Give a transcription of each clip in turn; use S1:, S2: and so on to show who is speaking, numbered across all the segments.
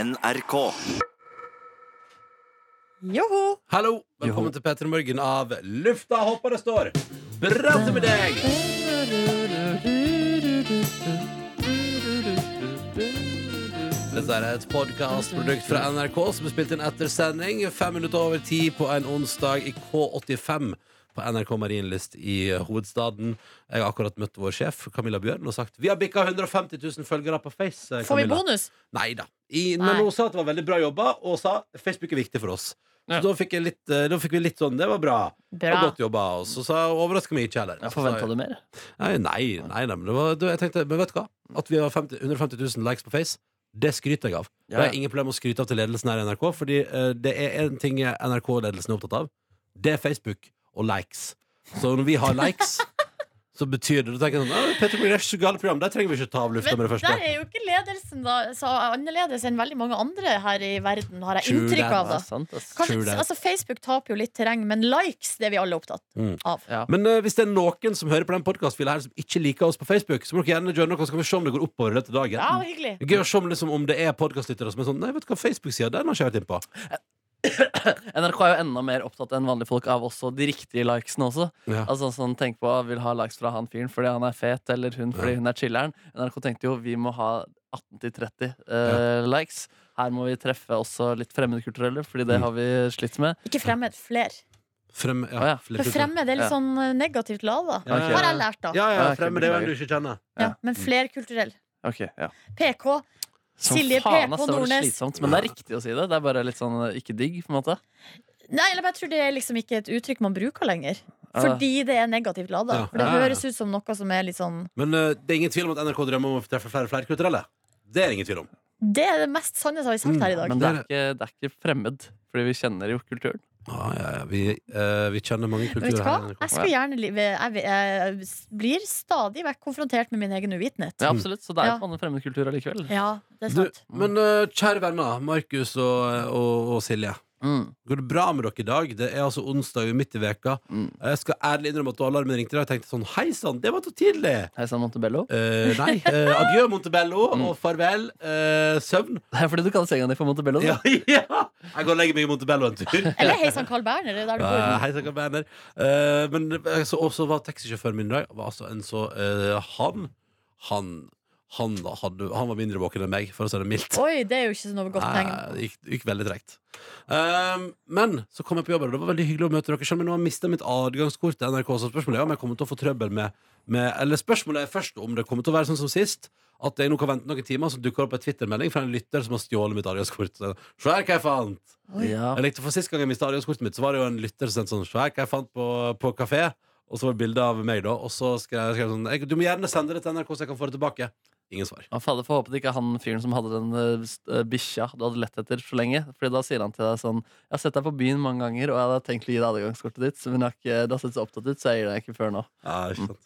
S1: NRK.
S2: Joho!
S3: Hallo, velkommen til Petter Morgen av Lufta håper det står Bratte med deg Dette er et podcastprodukt fra NRK Som er spilt inn etter sending Fem minutter over ti på en onsdag i K85 På NRK Marienlyst i hovedstaden Jeg har akkurat møtt vår sjef Camilla Bjørn og sagt Vi har bikket 150 000 følgere på Face eh,
S2: Får vi
S3: Camilla."
S2: bonus?
S3: Nei da. I,
S2: Nei.
S3: Men hun sa at det var veldig bra jobba, og sa Facebook er viktig for oss. Så
S4: Ja.
S3: da, fikk jeg litt, eh, da fikk vi litt sånn Det var bra. Det var
S2: Bra.
S3: godt jobba. Og så sa hun overraska meg ikke heller.
S4: Jeg forventa det mer.
S3: Nei, nei, nei, nei men, det var, det, jeg tenkte, men vet du hva? At vi har 50, 150 000 likes på Face, det skryter jeg av. Det
S4: Ja.
S3: har jeg ingen problem med å skryte av til ledelsen her i NRK, Fordi eh, det er en ting NRK-ledelsen er opptatt av. Det er Facebook og likes. Så når vi har likes, så betyr det Da tenker jeg sånn «Å, Petter Blir det er så gale program, der trenger vi ikke ta av lufta
S2: Men
S3: med det første.
S2: der er jo ikke ledelsen da så annerledes enn veldig mange andre her i verden, har jeg
S3: True
S2: inntrykk
S3: that,
S2: av.
S4: Ja,
S2: da
S4: sant, ass.
S3: True
S2: Kanskje,
S3: that.
S2: altså Facebook taper jo litt terreng, men likes det er vi alle opptatt
S3: Mm.
S2: av.
S4: Ja.
S3: Men eh, hvis det er noen som hører på den podkastfila her som ikke liker oss på Facebook, så må dere gjerne joine oss, så kan vi se om det går oppover i løpet av
S2: Ja,
S3: dagen.
S2: hyggelig.
S3: Det er Gøy å se om, liksom, om det er podkastlyttere som er sånn Nei, vet du hva, Facebook-sida, den har ikke jeg vært innpå.
S4: NRK er jo enda mer opptatt enn vanlige folk av også de riktige likesene også.
S3: Ja.
S4: Altså sånn, Tenk på vil ha likes fra han fyren fordi han er fet, eller hun fordi hun er chiller'n. NRK tenkte jo vi må ha 18-30 eh, likes. Her må vi treffe også litt fremmedkulturelle, fordi det har vi slitt med.
S2: Ikke fremmed, fler.
S3: Frem,
S4: Å,
S3: Mm. ja,
S4: ja.
S3: flere
S2: For
S3: tusen.
S2: fremmed er litt
S4: Ja.
S2: sånn eh, negativt lada.
S3: Ja,
S4: Ok.
S2: Har jeg lært, da.
S3: ja, ja,
S4: Ja, ok,
S3: frem, det er jo en du
S4: beklager.
S3: ikke kjenner.
S2: Ja,
S4: ja.
S2: men flerkulturell.
S4: Ok, ja
S2: PK.
S4: Som
S2: Silje
S4: faen,
S2: P.
S4: ass,
S2: på
S4: det var litt
S2: Nordnes.
S4: slitsomt, men det er riktig å si det. Det er bare litt sånn eh, ikke digg, på en måte.
S2: Nei, eller jeg tror det er liksom ikke et uttrykk man bruker lenger.
S4: Ja.
S2: Fordi det er negativt lada.
S3: Ah. Ja. Ah.
S2: For det
S3: Ja.
S2: høres ut som noe som er litt sånn
S3: Men eh, det er ingen tvil om at NRK drømmer om å treffe flere flerkulturelle. Det er det ingen tvil om.
S2: Det er det mest sanne som har vi
S3: Mm.
S2: sagt her i dag.
S4: Men det er ikke, det er ikke fremmed, fordi vi kjenner jo kulturen.
S3: Ah, ja, ja. Vi, eh, vi kjenner mange
S2: Vet du
S3: kulturer
S2: hva?
S3: her i NRK.
S2: Jeg, skulle gjerne, li- jeg, jeg, jeg blir stadig vekk konfrontert med min egen uvitenhet.
S4: Ja, absolutt, Så det er jo
S2: Ja.
S4: på annen fremmedkultur allikevel.
S2: Ja, det er
S3: Du,
S2: sant.
S3: men eh, kjære venner, Markus og, eh, og, og Silje.
S4: Mm.
S3: Går det bra med dere i dag? Det er altså onsdag vi er midt i veka.
S4: Mm.
S3: Jeg skal ærlig innrømme at da alarmen ringte, i dag, tenkte jeg sånn Hei sann, det var så tidlig!
S4: Hei sann, Montebello.
S3: Eh, nei. eh, adjø, Montebello, og farvel. eh, søvn.
S4: Det er fordi du kaller senga di for Montebello. da.
S3: Ja, ja! Jeg går og legger meg i Montebello en tur.
S2: Eller Hei sann, Carl Berner. Det er der du
S3: Eh,
S2: bor.
S3: hei, Sakka Berner. Eh, men eh, så også var taxisjåføren min i dag var altså en så eh, Han Han han, hadde, han var mindre våken enn meg, for å si det mildt.
S2: Oi, det er jo ikke så noe godt tegn.
S3: Nei, det gikk, det gikk veldig tregt. Ehm, men så kom jeg på jobb, og det var veldig hyggelig å møte dere. skjønner, Men nå har jeg mistet mitt adgangskort til NRK, så spørsmålet er om jeg kommer til å få trøbbel med, med Eller spørsmålet er først om det kommer til å være sånn som sist. At jeg nå kan vente noen timer, så dukker det opp en Twitter-melding fra en lytter som har stjålet mitt adgangskort. Så, Svær hva jeg fant!
S4: Ja.
S3: Jeg likte for Sist gang jeg mistet adgangskortet mitt, Så var det jo en lytter som sendte sånn Svær hva jeg fant på, på kafé. Og så var det bilde av meg, da. Og så skrev skrev jeg sånn «Jeg- Du må gjerne sende det til NRK, så jeg kan få det tilbake. Ingen svar.
S4: Ja, fader, Får håpe det ikke er han fyren som hadde den eh, s- eh, bikkja du hadde lett etter så lenge. Fordi da sier han til deg sånn Jeg har sett deg på byen mange ganger, og jeg hadde tenkt å gi deg adgangskortet ditt, men jeg har ikke, det har sett så opptatt ut, så jeg gir deg ikke før nå.
S3: Ja, ikke sant.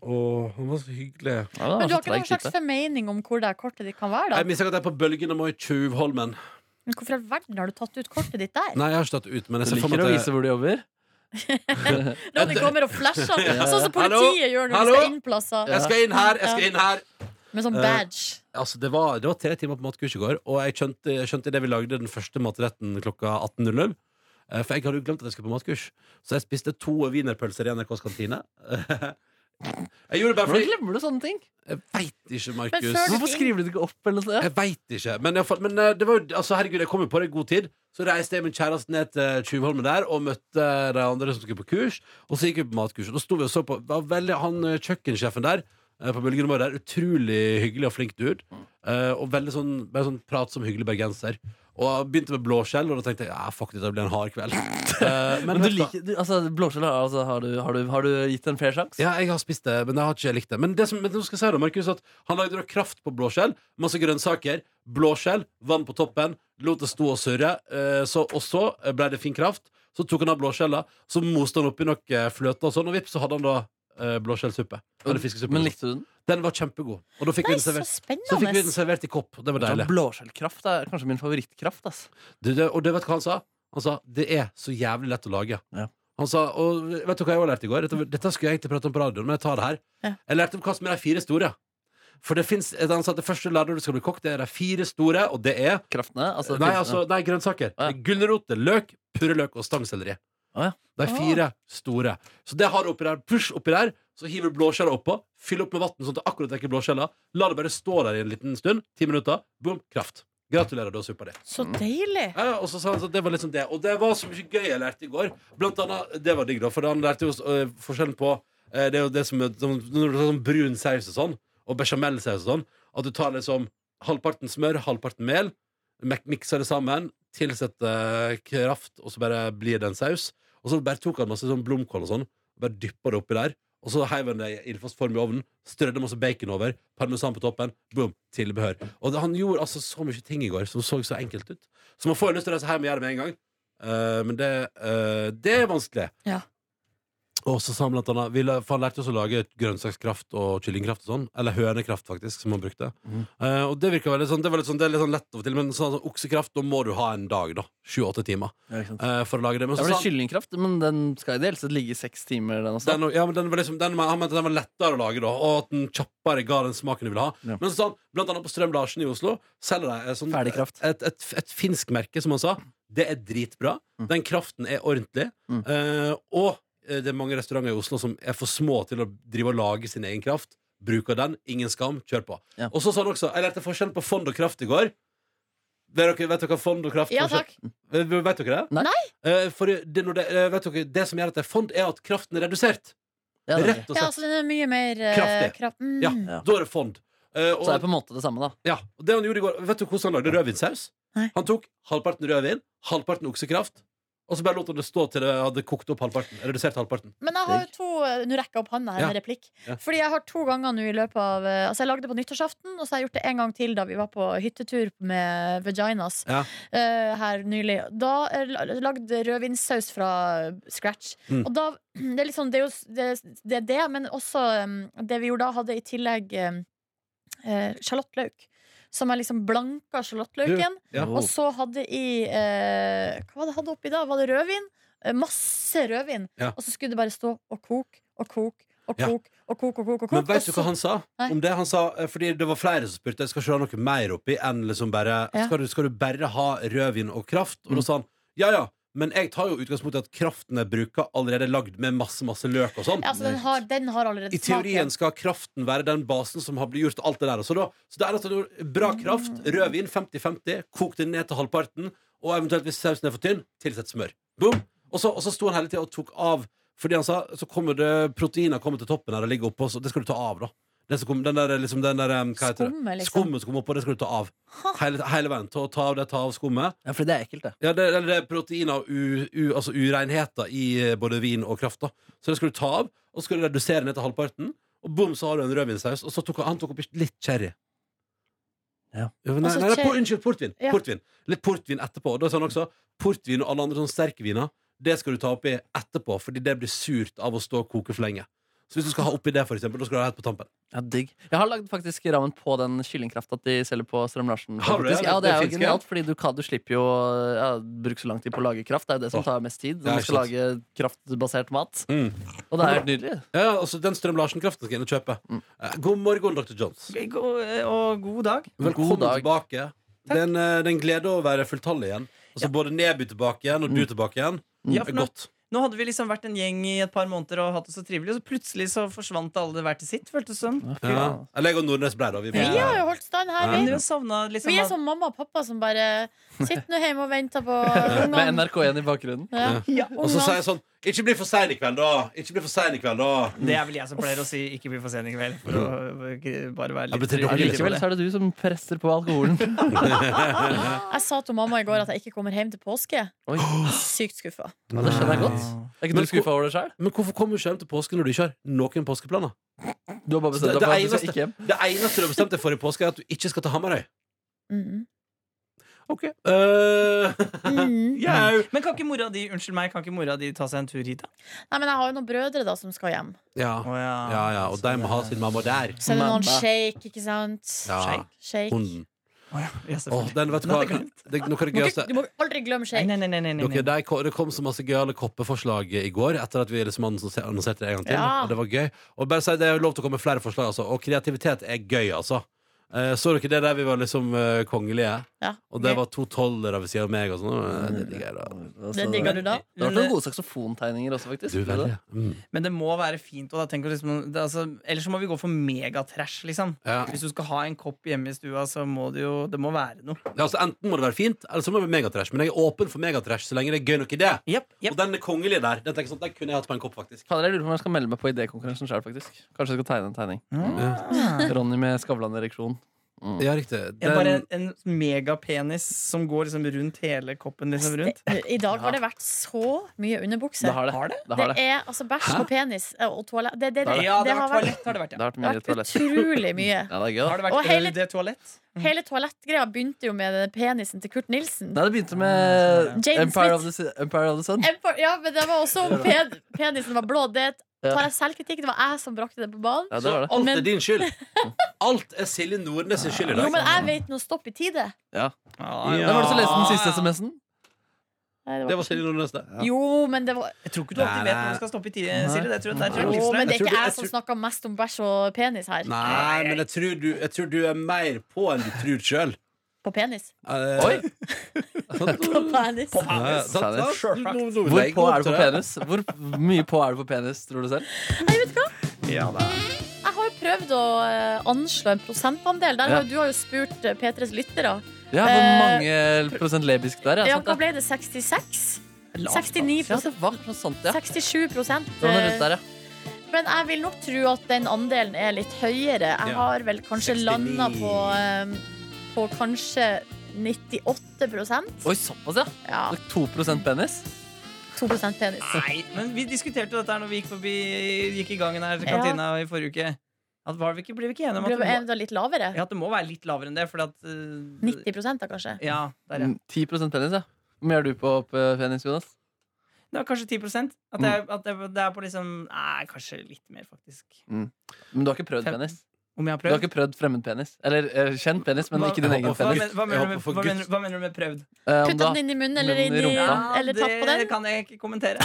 S3: Å, han var så hyggelig.
S4: Ja, det var
S2: Men du
S4: så
S2: har ikke noen
S4: treig type.
S2: slags formening om hvor det her kortet ditt kan være?
S3: Jeg
S2: da?
S3: mistenker at jeg er på bølgen og må i Tjuvholmen.
S2: Men Hvorfor i all verden har du tatt ut kortet ditt der?
S3: Nei, jeg har ikke tatt det ut, men jeg
S4: Du
S3: ser for
S4: liker
S3: meg
S4: å
S3: at
S4: vise
S3: jeg,
S4: hvor du jobber?
S2: Ronny kommer og flasher, sånn som politiet gjør når
S3: Hallo?
S2: de skal inn plasser.
S3: jeg skal inn her! Jeg
S2: Ja.
S3: skal inn her!
S2: Med sånn
S3: Eh,
S2: badge.
S3: Altså, det var, det var tre timer på matkurs i går, og jeg skjønte, jeg skjønte det vi lagde den første matretten klokka 18.00. eh, For jeg hadde jo glemt at jeg skulle på matkurs. Så jeg spiste to wienerpølser i NRKs kantine. Jeg gjorde det bare
S4: Hvordan
S3: fordi
S4: glemmer du sånne ting?
S3: Jeg veit ikke,
S2: Men
S3: Markus.
S2: før du-
S4: Hvorfor skriver du det ikke opp? eller noe sånt?
S3: Jeg veit ikke. Men, i alle fall, men eh, det var jo, altså, herregud, jeg kom jo på det i god tid. Så reiste jeg med kjæresten ned til Tjuvholmen der og møtte de andre som skulle på kurs. Og så gikk vi på matkurs. Og da sto vi og så på det var veldig, han eh, kjøkkensjefen der. eh, På Bølgen vår der Utrolig hyggelig og flink dude. Eh, og veldig sånn, bare sånn prat som hyggelig bergenser. Og jeg begynte med blåskjell, og da tenkte jeg ja, fuck it, det blir en hard kveld. Eh,
S4: Men du
S3: vet
S4: liker, du, altså, blåskjell, altså, har, du, har, du, har du gitt en fair sjanse?
S3: Ja, jeg har spist det, men jeg har ikke likt det. Men det som men nå skal jeg si da, Markus, at han lagde da kraft på blåskjell, masse grønnsaker, blåskjell, vann på toppen, lot det stå og surre, eh, så, og så ble det fin kraft. Så tok han av blåskjella, så moste han oppi noe fløte og sånn, og vips, så hadde han da eh, blåskjellsuppe. Eller fiskesuppe.
S4: Men likte du den?
S3: Den var kjempegod. Og da fikk
S2: Nei,
S3: vi den
S2: så
S3: servert. Så fikk vi den
S2: spennende.
S3: servert i kopp. Det var
S4: Ja,
S3: deilig.
S4: Blåskjellkraft er kanskje min favorittkraft. Ass.
S3: Du, det, og det vet du hva han sa? Han sa det er så jævlig lett å lage.
S4: Ja.
S3: Han sa, og Vet du hva jeg også lærte i går? Dette, dette skulle jeg egentlig prate om på radioen, men jeg tar det her.
S2: Ja.
S3: Jeg lærte om hva som er de fire store. For det fins et annet Det første lærdommen du skal bli kokk, det er de fire store, og det er
S4: Kraftene? Altså,
S3: Nei,
S4: fyrtene.
S3: altså, nei grønnsaker.
S4: Å, ja.
S3: Det er Gulrot, det er løk, purreløk og stangselleri.
S4: Å, ja.
S3: De fire store. Så det har du oppi der. Push oppi der, så hiver du blåskjella oppå. Fyll opp med vann sånn at det akkurat dekker blåskjella. La det bare stå der i en liten stund. Ti minutter. Boom, kraft. Gratulerer, du har suppa di.
S2: Så deilig.
S3: Ja, ja, og så sa han så det var liksom det. Og det var så mye gøy jeg lærte i går. Blant annet, det var digg, da, for han lærte jo øh, forskjellen på øh, Det er jo det som er sånn, når du tar sånn brun saus og sånn, og bechamelsaus og sånn, at du tar liksom halvparten smør, halvparten mel, mek- mikser det sammen, tilsetter eh, kraft, og så bare blir det en saus. Og så bare tok han masse sånn blomkål og sånn, bare dyppa det oppi der. Og så heiv han det i ildfast form i ovnen, strødde masse bacon over, parmesan på toppen, boom, tilbehør. Og det, han gjorde altså så mye ting i går som så så enkelt ut. Så man får jo lyst til å reise hjem og gjøre det med en gang. Eh, men det, eh, det er vanskelig.
S2: Ja.
S3: Og så sa han blant annet vi, la- For han lærte oss å lage grønnsakskraft og kyllingkraft og sånn. Eller hønekraft, faktisk, som han brukte.
S4: Mhm.
S3: Eh, og det virka veldig sånn, det var litt sånn, det er litt sånn lett over til, men sånn, sånn, oksekraft, da må du ha en dag, da. Sju-åtte timer
S4: Ja, ikke sant.
S3: eh, for å lage det. Men
S4: Det
S3: så
S4: blir
S3: sa han,
S4: kyllingkraft, men den skal ideelt sett ligge i seks timer. Den også.
S3: den, ja, men den var liksom, den, han mente den var lettere å lage, da, og at den kjappere ga den smaken du ville ha.
S4: Ja.
S3: Men så sa han, blant annet på Strøm Larsen i Oslo selger de eh, sånn,
S4: Ferdigkraft.
S3: Et, et, et finsk merke, som han sa. Det er dritbra.
S4: Mm.
S3: Den kraften er ordentlig.
S4: Mm.
S3: Eh, og eh, det er mange restauranter i Oslo som er for små til å drive og lage sin egen kraft. Bruker den. Ingen skam. Kjør på.
S4: Ja.
S3: Og så sa han også Jeg lærte forskjellen på fond og kraft i går. Vet dere, vet dere hva fond og kraft
S2: Ja
S3: forskjell-
S2: takk.
S3: Eh, Vet dere det?
S4: Nei.
S3: Eh, For det, når det, eh, vet dere, det som gjør at det er fond, er at kraften er redusert.
S4: Ja, det er
S3: Rett
S4: det.
S3: og
S2: Ja,
S3: slett.
S2: altså den er mye mer
S3: Kraftig.
S2: Kraft, mm.
S3: Ja.
S4: ja.
S3: Da er det fond. Eh, og,
S4: Så er det på en måte det samme, da.
S3: ja, og det han gjorde i går Vet du hvordan han lagde rødvinsaus?
S2: Nei.
S3: Han tok halvparten rødvin, halvparten oksekraft, og så bare lot han det stå til det hadde kokt opp halvparten. Redusert halvparten.
S2: Men jeg har jo to eh, Nå rekker jeg opp handa her med replikk.
S3: Hm. Ja.
S2: Fordi jeg har to ganger nå i løpet av eh, Altså jeg lagde det på nyttårsaften, og så har jeg gjort det en gang til da vi var på hyttetur med vaginas
S3: Ja.
S2: eh, her nylig. Da eh, la- lagde rødvinssaus fra eh, scratch.
S3: Mm.
S2: Og da Det er liksom Det er jo s- det, det, er det men også eh, det vi gjorde da, hadde i tillegg eh, eh, sjalottløk. Som er liksom blanka sjalottløken.
S3: Ja.
S2: Og så hadde i eh, Hva var det jeg hadde oppi da? Var det rødvin? Eh, masse rødvin.
S3: Ja.
S2: Og så skulle det bare stå og koke og koke og
S3: Ja.
S2: koke og koke. og koke, og koke.
S3: Men vet du
S2: Og
S3: hva
S2: så-
S3: han sa
S2: altså, Nei.
S3: om det? Han sa, eh, fordi det var flere som spurte Skal ikke du ha noe mer oppi enn liksom bare
S2: Ja.
S3: skal, du, skal du bare ha rødvin og kraft? Og
S4: Mm.
S3: da sa han ja ja, men jeg tar jo utgangspunkt i at kraften jeg bruker, allerede er lagd med masse masse løk og sånn.
S2: Ja, altså, den, har, den har allerede
S3: I teorien skal kraften være den basen som har blitt gjort alt det der. Så, da, så det er at du har bra kraft,
S2: Mm.
S3: rødvin 50-50, kok det ned til halvparten, og eventuelt hvis sausen er for tynn, tilsett smør. Boom! Og så, og så sto han hele tida og tok av, fordi han sa så kommer det proteiner kommer til toppen her og ligger oppå, så det skal du ta av, da. Det som kom, den der, liksom, den der, um, hva heter det?
S2: Skummet, liksom.
S3: Skummet som kom oppå, det skal du ta av. Hele, hele veien. Ta, ta av det, ta av skummet.
S4: Ja, for det er ekkelt, det.
S3: Ja, det, eller det er proteiner og u, u, altså urenheter i eh, både vin og kraft. da Så det skal du ta av, og så skal du redusere ned til halvparten. Og bom, så har du en rødvinsaus. Og så tok han- han tok oppi litt sherry.
S4: Ja.
S3: men Nei,
S2: Altså,
S3: nei, nei, por-
S2: sherry-
S3: unnskyld, portvin.
S2: Ja.
S3: portvin. Litt portvin etterpå. Og da sa han også portvin og alle andre sånne sterke viner, det skal du ta oppi etterpå, fordi det blir surt av å stå og koke for lenge. Så hvis du skal ha oppi det, for eksempel, da skal du ha helt på tampen.
S4: Ja, digg. Jeg har lagd faktisk rammen på den kyllingkrafta de selger på Strøm Larsen.
S3: Har du det?
S4: faktisk. Ja, det
S3: Det
S4: er jo
S3: finnes,
S4: genialt, fordi du, kan, du slipper jo ja, bruke så lang tid på å lage kraft. Det er jo det som
S3: Åh.
S4: tar mest tid
S3: Ja,
S4: når
S3: ikke
S4: du skal lage kraftbasert mat.
S3: Mm.
S4: Og det er helt nydelig.
S3: Ja, ja, altså Den Strøm-Larsen-kraften skal jeg inn og kjøpe.
S4: Mm.
S3: Eh, God morgen, dr. Johns.
S1: God, eh, og god dag.
S3: Velkommen
S4: God dag.
S3: tilbake. Det er en, eh, det er en glede å være fulltallig igjen. Altså Både Neby tilbake igjen og du tilbake igjen.
S1: Ja,
S3: Det er
S1: for nå,
S3: godt.
S1: nå hadde vi liksom vært en gjeng i et par måneder og hatt det så trivelig, og så plutselig så forsvant alle hver til sitt, føltes det som.
S4: Ja, fy
S3: Ja.
S4: faen.
S3: Eller jeg og Nordnes ble da. Vi
S2: Vi
S3: får-
S2: har jo holdt stand her,
S1: Men
S2: vi.
S1: dere savna liksom
S2: Vi er
S1: at-
S2: som mamma og pappa som bare sitter nå hjemme og venter på
S4: Med
S2: ungene.
S4: NRK1 i bakgrunnen.
S2: Ja.
S1: ja.
S3: Og så
S2: Ungene.
S3: sier jeg sånn Ikke bli for sein i kveld, da! Ikke bli for sein i kveld, da!
S1: Det er vel jeg som pleier å si 'ikke bli for sen i kveld'. For å eh, bare være litt
S3: Ja, men det-
S1: trygg.
S4: Likevel så er det du som presser på alkoholen.
S2: Jeg sa til mamma i går at jeg ikke kommer hjem til påske.
S4: Oi,
S2: Sykt skuffa.
S4: ja, Det skjønner jeg godt. Er ikke
S3: Men
S4: du skuffa over det sjøl?
S3: Men hvorfor kommer du ikke hjem til påske når du ikke har noen påskeplaner?
S4: Du har bare bestemt
S3: Så det-
S4: deg
S3: det
S4: for at du skal
S3: eneste-
S4: ikke hjem.
S3: Det eneste du har bestemt deg for i påske, er at du ikke skal til Hamarøy.
S2: Mm.
S3: Ok Eh,
S2: Mm.
S3: jau.
S1: Men kan ikke mora di unnskyld meg, kan ikke mora di ta seg en tur hit, da?
S2: Nei, men jeg har jo noen brødre da som skal hjem.
S3: Ja. ja, ja. Og de må ha sin mamma der.
S2: Så er det noen
S4: Mamma.
S2: shake, ikke sant?
S3: Ja.
S2: Shake.
S3: Hunden.
S1: Å ja, ja,
S3: Åh,
S1: selvfølgelig.
S3: den, vet du
S1: Den
S3: hva?
S1: hadde jeg glemt.
S3: Det, noe av det
S2: Du må, ikke,
S3: gøyeste
S2: du må aldri glemme
S1: Nei,
S2: shake.
S1: nei, nei, nei, nei, nei.
S3: Dere, der, ko- det kom så masse gøyale koppeforslag i går etter at vi liksom annonser- annonserte det en gang til.
S2: Ja.
S3: Og det var gøy. Og bare si, det er lov til å komme med flere forslag, altså. Og kreativitet er gøy, altså. Eh, så dere det der vi var liksom eh, kongelige?
S2: Ja,
S3: Og det
S2: ok.
S3: var to tollere ved siden av meg og sånn. Eh, Det digger jeg da.
S2: Det digger du da.
S4: Det har
S1: Men
S4: vært noen
S1: det-
S4: gode saksofontegninger også, faktisk.
S3: Du velger. Mm.
S1: Men det må være fint. Og da tenker jeg liksom, det, altså, ellers så må vi gå for megatrash. Liksom.
S3: Ja.
S1: Hvis du skal ha en kopp hjemme i stua, så må det jo det må være noe.
S3: Ja, altså, enten må det være fint, eller så må det være megatrash. Men jeg er åpen for megatrash så lenge det er gøy nok i det.
S1: Jepp,
S3: Og den kongelige der, den, tenker jeg sånn, den kunne jeg hatt på en kopp, faktisk.
S4: Fader, jeg lurer på om jeg skal melde meg på idékonkurransen sjøl, faktisk. Kanskje jeg skal tegne en tegning. Ronny med Skavlan-ereksjon. Mm.
S3: Ja, riktig. Den,
S1: Ja, bare en megapenis som går liksom rundt hele koppen. Liksom rundt
S2: Det- I dag har det vært så mye underbukse.
S4: Det har det.
S1: Har det?
S4: Det
S2: Det
S4: har det.
S2: er altså bæsj på penis eh, og toalett. Det, det, det,
S1: Ja, det
S2: det
S1: har vært toalett. Har det vært,
S4: Det
S1: ja.
S4: har vært
S2: det
S4: mye
S2: har vært
S4: toalett.
S2: utrolig mye.
S4: Ja, det er gøy, da.
S1: Har det
S2: Og
S1: vært
S2: hele-
S1: hele... toalett?
S2: Hele toalettgreia begynte jo med den penisen til Kurt Nilsen.
S4: Nei, det begynte
S1: Ja,
S4: med
S2: sånn er det.
S4: Empire of, the, Sun- Empire of the Sun.
S2: Empire- Ja, men det var også om pen, penisen var blå. Det tar jeg selvkritikk. Det var jeg som brakte det på banen.
S4: Ja, det var det.
S3: Alt
S2: Men-
S3: er din skyld. Alt er Silje Nordnes sin skyld i
S2: Jo,
S3: dag.
S2: men jeg vet noe stopp i tide.
S1: Ja,
S4: Det var det som leste den siste SMS-en.
S2: Nei, det var-
S3: Det var Silje Nordnes, det.
S2: Jo, men det var
S1: Jeg tror ikke du alltid vet når du skal stoppe i tide, Silje. Det tror jeg, der tror jeg
S2: jo,
S1: du
S2: men det er
S3: Jeg tror
S1: fikser
S2: ikke
S3: du- jeg
S2: jeg som
S3: tror-
S2: snakker mest om bæsj og penis her.
S3: Nei, men jeg tror du, jeg tror du er mer på enn du tror sjøl.
S2: På penis.
S4: Oi!
S2: På penis.
S4: Hvor
S3: Hvor
S4: på er du på penis? Hvor mye på er du på penis, tror du selv?
S1: deg. Ja, da.
S2: Jeg har jo prøvd å eh, anslå en prosentandel. Der har,
S4: Ja.
S2: du har jo spurt eh, P3s lyttere.
S4: Ja, hvor
S2: Eh,
S4: mange prosent lebisk du er?
S2: Ja,
S4: Ja,
S2: hva
S4: sant det?
S2: ble det? 66? 69
S4: Ja, det var noe sånt, ja.
S2: 67 prosent.
S4: Det var noe
S2: eh,
S4: rundt der, ja.
S2: Men jeg vil nok tro at den andelen er litt høyere. Jeg
S3: Ja.
S2: har vel kanskje
S3: 69.
S2: landa på, eh, på kanskje 98
S4: Oi, såpass, ja.
S2: Ja,
S4: 2 penis.
S2: 2 penis.
S1: Nei, men vi diskuterte dette her når vi gikk, forbi, gikk i gangen her i
S2: Ja.
S1: kantina i forrige uke. At var vi ikke, ble vi ikke enige om
S2: Det
S1: at det,
S2: er da litt lavere.
S1: må, ja, at det må være litt lavere enn det? Fordi at eh,
S2: 90 da, kanskje.
S1: Ja, der, ja.
S4: Mm, 10 penis, ja. Hvor mye har du på opp, eh, penis, Jonas?
S1: Det var kanskje 10 At, det, er- at det, det er på liksom Nei, kanskje litt mer, faktisk.
S4: Men du har ikke prøvd
S1: Fem-
S4: penis?
S1: Om jeg har
S4: Du har
S1: prøvd?
S4: ikke prøvd fremmed penis? Eller eh, kjent penis, men
S1: Hva-
S4: ikke din egen
S3: hva-
S1: Hva,
S4: penis.
S1: men, hva,
S3: Jeg
S1: mener du
S3: håper
S1: med,
S3: for
S1: hva,
S3: Guds-
S1: mener, hva mener du med prøvd?
S4: Eh, om du
S2: Putta
S4: har-
S2: den inn i munnen eller, inn
S4: Munnen i
S2: i,
S4: rumpa.
S2: eller tatt på den.
S1: Det kan jeg ikke kommentere.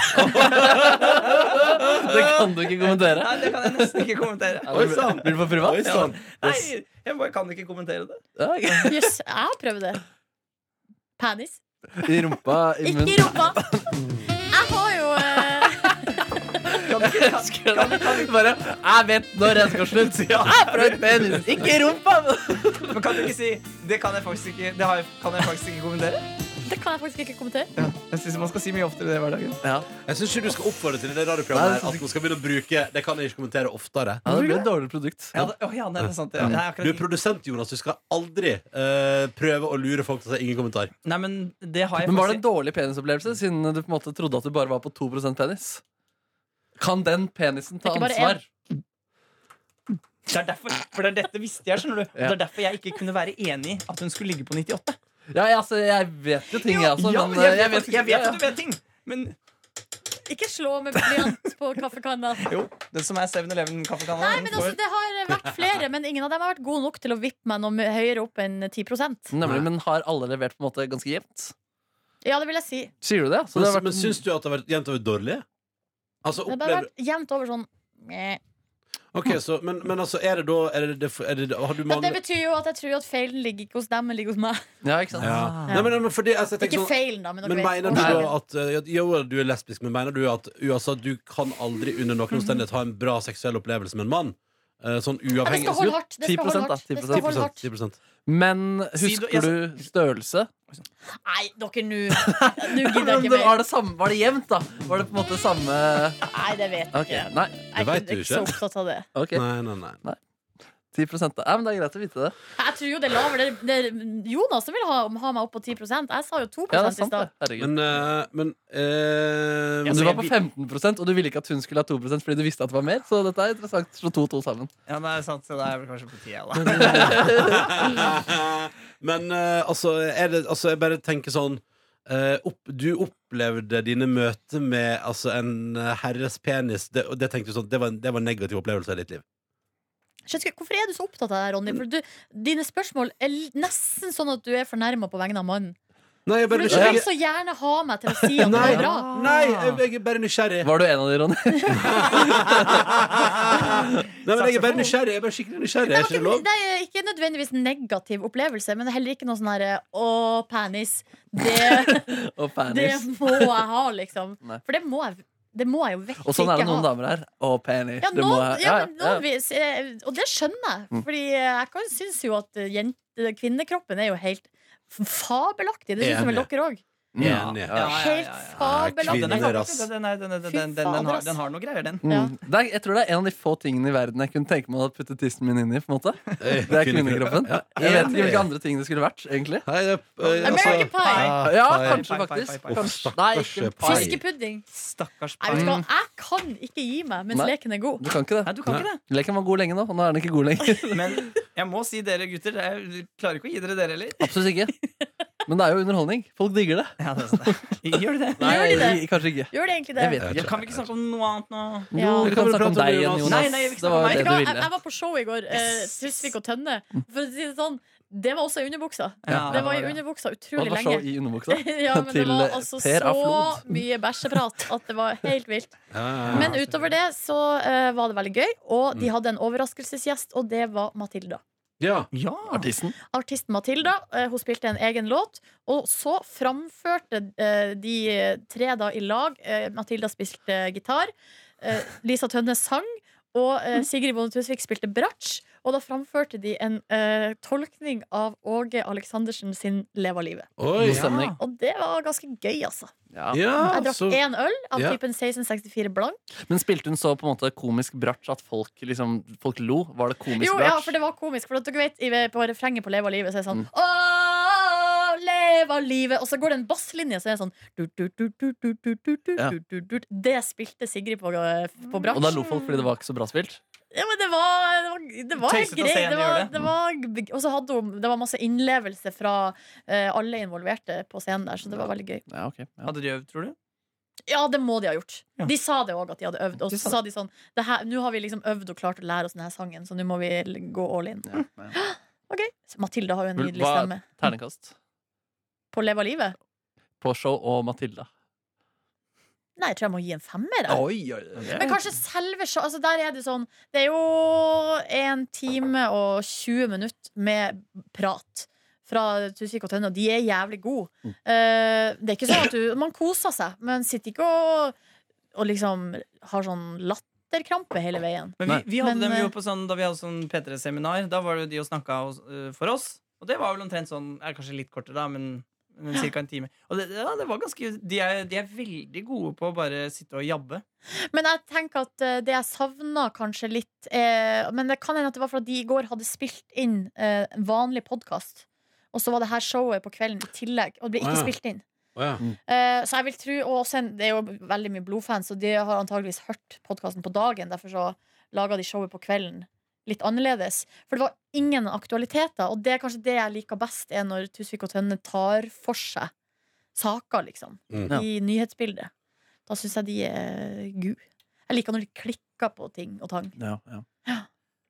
S4: Det kan du ikke kommentere.
S1: Nei, det kan jeg nesten ikke kommentere.
S4: Ja, det blir- Blir du på privat?
S1: Ja. Nei, jeg bare kan ikke kommentere det.
S4: Ja, ok.
S2: Jøss, jeg har prøvd det. Penis.
S4: I rumpa, i
S2: Ikke i
S4: munnen.
S2: rumpa! Jeg har jo eh,
S1: Kan du ikke, kan,
S4: Husker du det? Bare, jeg vet når jeg skal slutte. Jeg har prøvd penis, ikke i rumpa!
S1: men kan du ikke si Det kan jeg faktisk ikke, det har jeg, kan jeg faktisk ikke kommentere?
S2: Det kan jeg faktisk ikke kommentere.
S1: Ja, jeg syns man skal si mye oftere det i hverdagen.
S4: Ja.
S3: Jeg syns ikke du skal oppfordre til i det
S4: Nei,
S3: radioprogrammet
S4: det
S3: her,
S4: synes
S3: at hun skal begynne å bruke Det kan jeg ikke kommentere oftere.
S4: det ble et dårlig produkt.
S1: Ja, det, å, ja nei, det er sant. det. Nei,
S3: Du er
S1: akkurat,
S3: produsent, Jonas. Du skal aldri eh, prøve å lure folk til å si ingen kommentar.
S1: nei, men det har jeg
S4: Men var det en
S1: faktisk
S4: dårlig penisopplevelse, siden du på en måte trodde at du bare var på 2 penis? Kan den penisen
S2: Det er
S4: ta
S2: ikke bare
S4: ansvar?
S1: det er derfor, For det er dette visste jeg, skjønner du. Og
S4: Ja.
S1: Det er derfor jeg ikke kunne være enig i at hun skulle ligge på 98.
S4: Ja, jeg, altså, jeg vet jo ting, jeg også.
S1: ja,
S4: men,
S1: men jeg,
S4: eh, jeg
S1: vet,
S4: vet
S1: jeg vet
S4: ja,
S1: at du vet ting! Men
S2: Ikke slå med blyant på kaffekanna.
S1: jo, den som er 7-Eleven-kaffekanna
S2: Nei, men altså, Det har vært flere, men ingen av dem har vært gode nok til å vippe meg noe mye høyere opp enn 10
S4: ja. Nemlig, men har alle levert på en måte ganske jevnt?
S2: Ja, det vil jeg si.
S4: Sier du det? Så
S3: Men,
S4: det har vært-
S3: men syns du at det har vært jevnt over dårlig? Altså,
S2: Det har bare
S3: opplever,
S2: vært jevnt over sånn meh.
S3: Ok, så, men, men altså, er det da er det, er det, Har du
S2: Men det
S3: manglet
S2: betyr jo at jeg tror at feilen ligger ikke hos dem, men ligger hos meg.
S4: Ja, ikke sant?
S3: ja. Nei, men, men fordi, altså, jeg tenker
S2: Ikke
S3: sånn-
S2: feilen, da, men
S3: Men
S2: dere
S3: mener
S2: vet.
S3: du da
S2: Nei.
S3: at eh, at- Jo, du er lesbisk, men mener du at altså, du kan aldri under noen omstendighet ha en bra seksuell opplevelse med en mann? Eh, Sånn
S2: Ja, det
S3: uavhengig
S2: skal holde hardt. Det skal
S4: 10%
S2: holde
S4: da,
S2: hardt. Det
S4: 10%.
S2: skal holde hardt.
S3: 10%.
S4: Men
S1: Si du-
S4: husker
S1: jeg-
S4: du størrelse?
S2: Nei, dere, nå Nå
S4: Men
S2: gidder jeg
S4: om
S2: ikke
S4: det
S2: mer.
S4: var, det samme, var det jevnt, da? Var det på en måte samme
S2: Nei, det vet jeg
S4: Ok,
S2: ikke.
S4: nei.
S2: Jeg
S3: vet
S2: er
S3: du
S2: ikke så
S3: ikke.
S2: opptatt av det.
S4: ok
S3: Nei, nei, nei.
S4: 10 da. Ja, men Det er greit å vite det.
S2: Jeg tror jo det er lavere. Det er Jonas som vil ha, ha meg opp på 10 Jeg sa jo 2
S4: Ja, det er
S2: i
S4: sant, det.
S2: stad.
S4: Herregud.
S3: Men, eh, men eh,
S1: Ja,
S4: Men du
S1: så
S4: var
S1: jeg
S4: på
S1: vil-
S4: 15 og du ville ikke at hun skulle ha 2 fordi du visste at det var mer. Så dette er interessant. Slå to og to sammen.
S1: Ja, det er sant, så det er vel kanskje på tida, da.
S3: Men eh, altså, er det, altså, jeg bare tenker sånn eh, opp, Du opplevde dine møter med altså, en eh, herres penis. Det, og det tenkte du sånn, det var, en- det var en negativ opplevelse i ditt liv.
S2: Skjønner ikke- Hvorfor er du så opptatt av det, her, Ronny? For du, dine spørsmål er l- nesten sånn at du er fornærma på vegne av mannen.
S3: Nei, jeg er
S2: For
S3: bare
S2: du vil
S3: nysgjerrig.
S2: så gjerne ha meg til å si at det
S3: Nei.
S2: er bra.
S3: Nei, jeg jeg er bare nysgjerrig.
S4: Var du en av de, Ronny?
S3: Nei, men jeg er bare nysgjerrig. Jeg er bare skikkelig nysgjerrig.
S2: Det
S3: Er
S2: var
S3: ikke det
S2: ikke,
S3: lov?
S2: det er eh, ikke nødvendigvis negativ opplevelse, men det er heller ikke noe sånn herre Å, penis. Det,
S4: Og
S2: det
S4: penis.
S2: må jeg ha, liksom.
S4: Nei.
S2: For det må jeg, det må jeg jo virkelig ikke ha.
S4: Og sånn er det noen damer her. Å, penis.
S2: Ja,
S4: det
S2: nå,
S4: må jeg-
S2: ja,
S4: ja,
S2: men nå
S4: ja.
S2: vis- eh, og det skjønner jeg.
S4: Mm.
S2: Fordi jeg kan synes jo at eh, jente, kvinnekroppen er jo helt f- fabelaktig. Det synes vel
S3: Enig.
S2: dere òg.
S4: Ja,
S3: Enig.
S4: ja.
S1: ja, ja,
S2: Helt
S1: ja, ja.
S3: Ja,
S1: Den,
S2: fabelaktig.
S1: er
S3: Kvinner,
S1: faktisk-
S3: ass.
S1: den, er- den, er- den,
S2: Fy
S1: den, den, den,
S2: fader,
S1: har,
S2: ass.
S1: den har noe greier, den.
S4: Mm.
S2: Ja.
S4: Det er, jeg tror det er en av de få tingene i verden jeg kunne tenke meg å putte tissen min inn i. på en måte Det er kvinnekroppen. Jeg vet ikke hvilke andre ting det skulle vært. egentlig
S3: Hei, jeg, eh,
S1: Altså-
S2: American pie.
S3: Ja,
S4: Ja,
S3: pie.
S4: kanskje,
S1: Pai, pai, pai,
S4: faktisk.
S1: pai.
S3: Uff,
S4: Kanskje. Nei,
S3: stakkars
S4: ikke
S3: pai.
S4: pai.
S2: Fiskepudding.
S1: Stakkars
S2: Jeg, vet
S1: barn.
S2: ikke hva, jeg kan ikke gi meg mens
S4: Nei.
S2: leken er god.
S4: Du kan ikke
S1: Nei,
S4: det.
S1: du kan ikke det.
S4: Leken var god lenge nå, og nå er den ikke god lenger.
S1: Men jeg må si dere gutter, jeg klarer ikke å gi dere dere heller.
S4: Absolutt ikke. Men det er jo underholdning. Folk digger det.
S1: Ja, det er sånn. Gjør de det?
S2: Gjør de det?
S4: i- kanskje ikke.
S2: Gjør det egentlig det?
S4: Jeg vet
S3: Jeg
S4: ikke.
S3: tror-
S1: Kan vi ikke snakke om noe annet nå?
S2: Ja.
S4: Jo,
S2: Vet
S4: vi
S3: Det
S4: kan
S3: kan vi
S4: snakke om
S3: prate om,
S4: deg
S3: Jonas.
S4: igjen, Jonas.
S1: Nei, nei, jeg vil ikke
S4: det
S1: snakke om
S4: var
S1: meg.
S4: jo
S2: du
S4: det du
S2: hva, jeg,
S4: ville.
S2: jeg var på show i går. Eh, Tusvik og Tønne. For å si det sånn, det var også i underbuksa.
S1: Ja,
S2: Det var i
S1: det.
S2: underbuksa
S4: Hva
S2: utrolig
S4: var så
S2: lenge.
S4: i underbuksa?
S2: Ja, men det
S4: til,
S2: var
S4: eh,
S2: altså
S4: Per av
S2: så
S4: Flod.
S2: mye bæsjeprat at det var helt vilt.
S3: Ja, ja,
S2: Men utover det så eh, var det veldig gøy, og de hadde en overraskelsesgjest, og det var Matilda.
S3: ja.
S1: Ja.
S4: Artisten.
S2: Artisten Matilda eh, hun spilte en egen låt, og så framførte eh, de tre da i lag. Eh, Matilda spilte gitar, eh, Lisa Tønne sang, og eh, Sigrid Bonde Tusvik spilte bratsj. Og da framførte de en eh, tolkning av Åge Aleksandersen sin 'Leva livet'.
S3: Oi.
S4: God stemning.
S2: Og det var ganske gøy, altså.
S4: Ja.
S3: Ja,
S2: Jeg drakk
S3: så-
S2: én øl av
S3: Ja.
S2: typen 1664 blank.
S4: Men spilte hun så på en måte komisk bratsj at folk, liksom, folk lo? Var det komisk
S2: Jo,
S4: bratsj?
S2: ja, for det var komisk. For at dere vet, i- På refrenget på Leva livet så er det sånn
S4: Mm.
S2: Åh, leva livet! Og så går det en basslinje, så er det sånn du, du, du, du, du, du, du, du,
S4: Ja.
S2: du, du, du. Det spilte Sigrid på, eh, på bratsjen.
S4: Og da lo folk fordi det var ikke så bra spilt?
S2: Ja, men det var, det var, det var helt
S1: Tøysete å se
S2: greit.
S1: henne
S2: Det var,
S1: gjøre det.
S2: det var, og så hadde hun Det var masse innlevelse fra eh, alle involverte på scenen der, så det var veldig gøy.
S4: Ja, ok. Ja.
S1: Hadde de øvd, tror du?
S2: Ja, det må de ha gjort.
S1: Ja.
S2: De sa det òg, at de hadde øvd. Og
S1: De
S2: så
S1: sa
S2: sa de sånn "Det her- Nå har vi liksom øvd og klart å lære oss denne sangen, så nå må vi gå all in.
S4: Ja, ja.
S2: Ok, så Matilda har jo en
S4: Hva-
S2: nydelig stemme.
S4: Terningkast
S2: På Leva livet?
S4: på show og Matilda.
S2: Nei, jeg tror jeg må gi en femmer. jeg.
S4: Oi, oi, oi.
S2: Men kanskje selve show altså Der er det sånn Det er jo en time og 20 minutter med prat fra Tusvik og Tønne, og de er jævlig gode. Eh, det er ikke sånn at du Man koser seg, men sitter ikke og, og liksom har sånn latterkrampe hele veien.
S1: Men vi, vi hadde
S2: Men,
S1: dem
S2: eh,
S1: jo på sånn, Da vi hadde sånn P3-seminar, da var det jo de og snakka hos- eh, for oss. Og det var vel omtrent sånn er Kanskje litt kortere, da, men ca. en time. Og det, ja, det var ganske de er, de er veldig gode på å bare sitte og jabbe.
S2: Men jeg tenker at eh, det jeg savna kanskje litt eh, Men det kan hende at det var fordi de i går hadde spilt inn eh, en vanlig podkast. Og så var det her showet på kvelden i tillegg, og det ble
S3: Ah,
S2: ikke
S3: ja.
S2: spilt inn.
S3: Å, ja.
S2: Eh, så jeg vil tro, og også en, Det er jo veldig mye blodfans, og de har antageligvis hørt podkasten på dagen. Derfor så laga de showet på kvelden litt annerledes. For det var ingen aktualiteter, og det er kanskje det jeg liker best, er når Tusvik og Tønne tar for seg saker, liksom,
S3: Mm.
S4: Ja.
S2: i nyhetsbildet. Da syns jeg de er gu. Jeg liker når de klikker på ting og tang.
S4: Ja, ja.